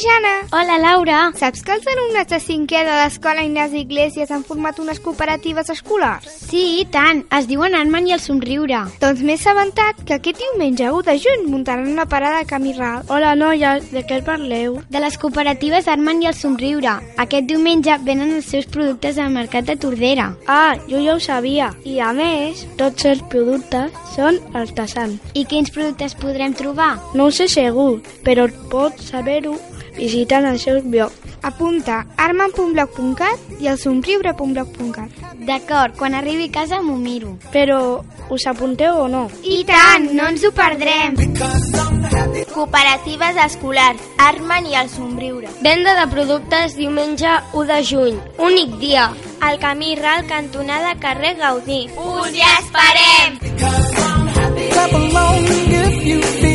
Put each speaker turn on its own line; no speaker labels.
Jana.
Hola, Laura.
Saps que els alumnes de cinquè de l'escola Ignasi Iglesias han format unes cooperatives escolars?
Sí, i tant. Es diuen Arman i el somriure.
Doncs m'he assabentat que aquest diumenge 1 de juny muntaran una parada a Camí Ral.
Hola, noies, de què parleu?
De les cooperatives Arman i el somriure. Aquest diumenge venen els seus productes al mercat de Tordera.
Ah, jo ja ho sabia. I a més, tots els productes són artesans.
I quins productes podrem trobar?
No ho sé segur, però pots saber-ho visitant el seu blog.
Apunta arman.blog.cat i el somriure.blog.cat.
D'acord, quan arribi a casa m'ho miro.
Però us apunteu o no?
I tant, no ens ho perdrem. Cooperatives escolars, Arman i el somriure.
Venda de productes diumenge 1 de juny. Únic dia.
Al camí Ral, cantonada carrer Gaudí.
Us hi esperem!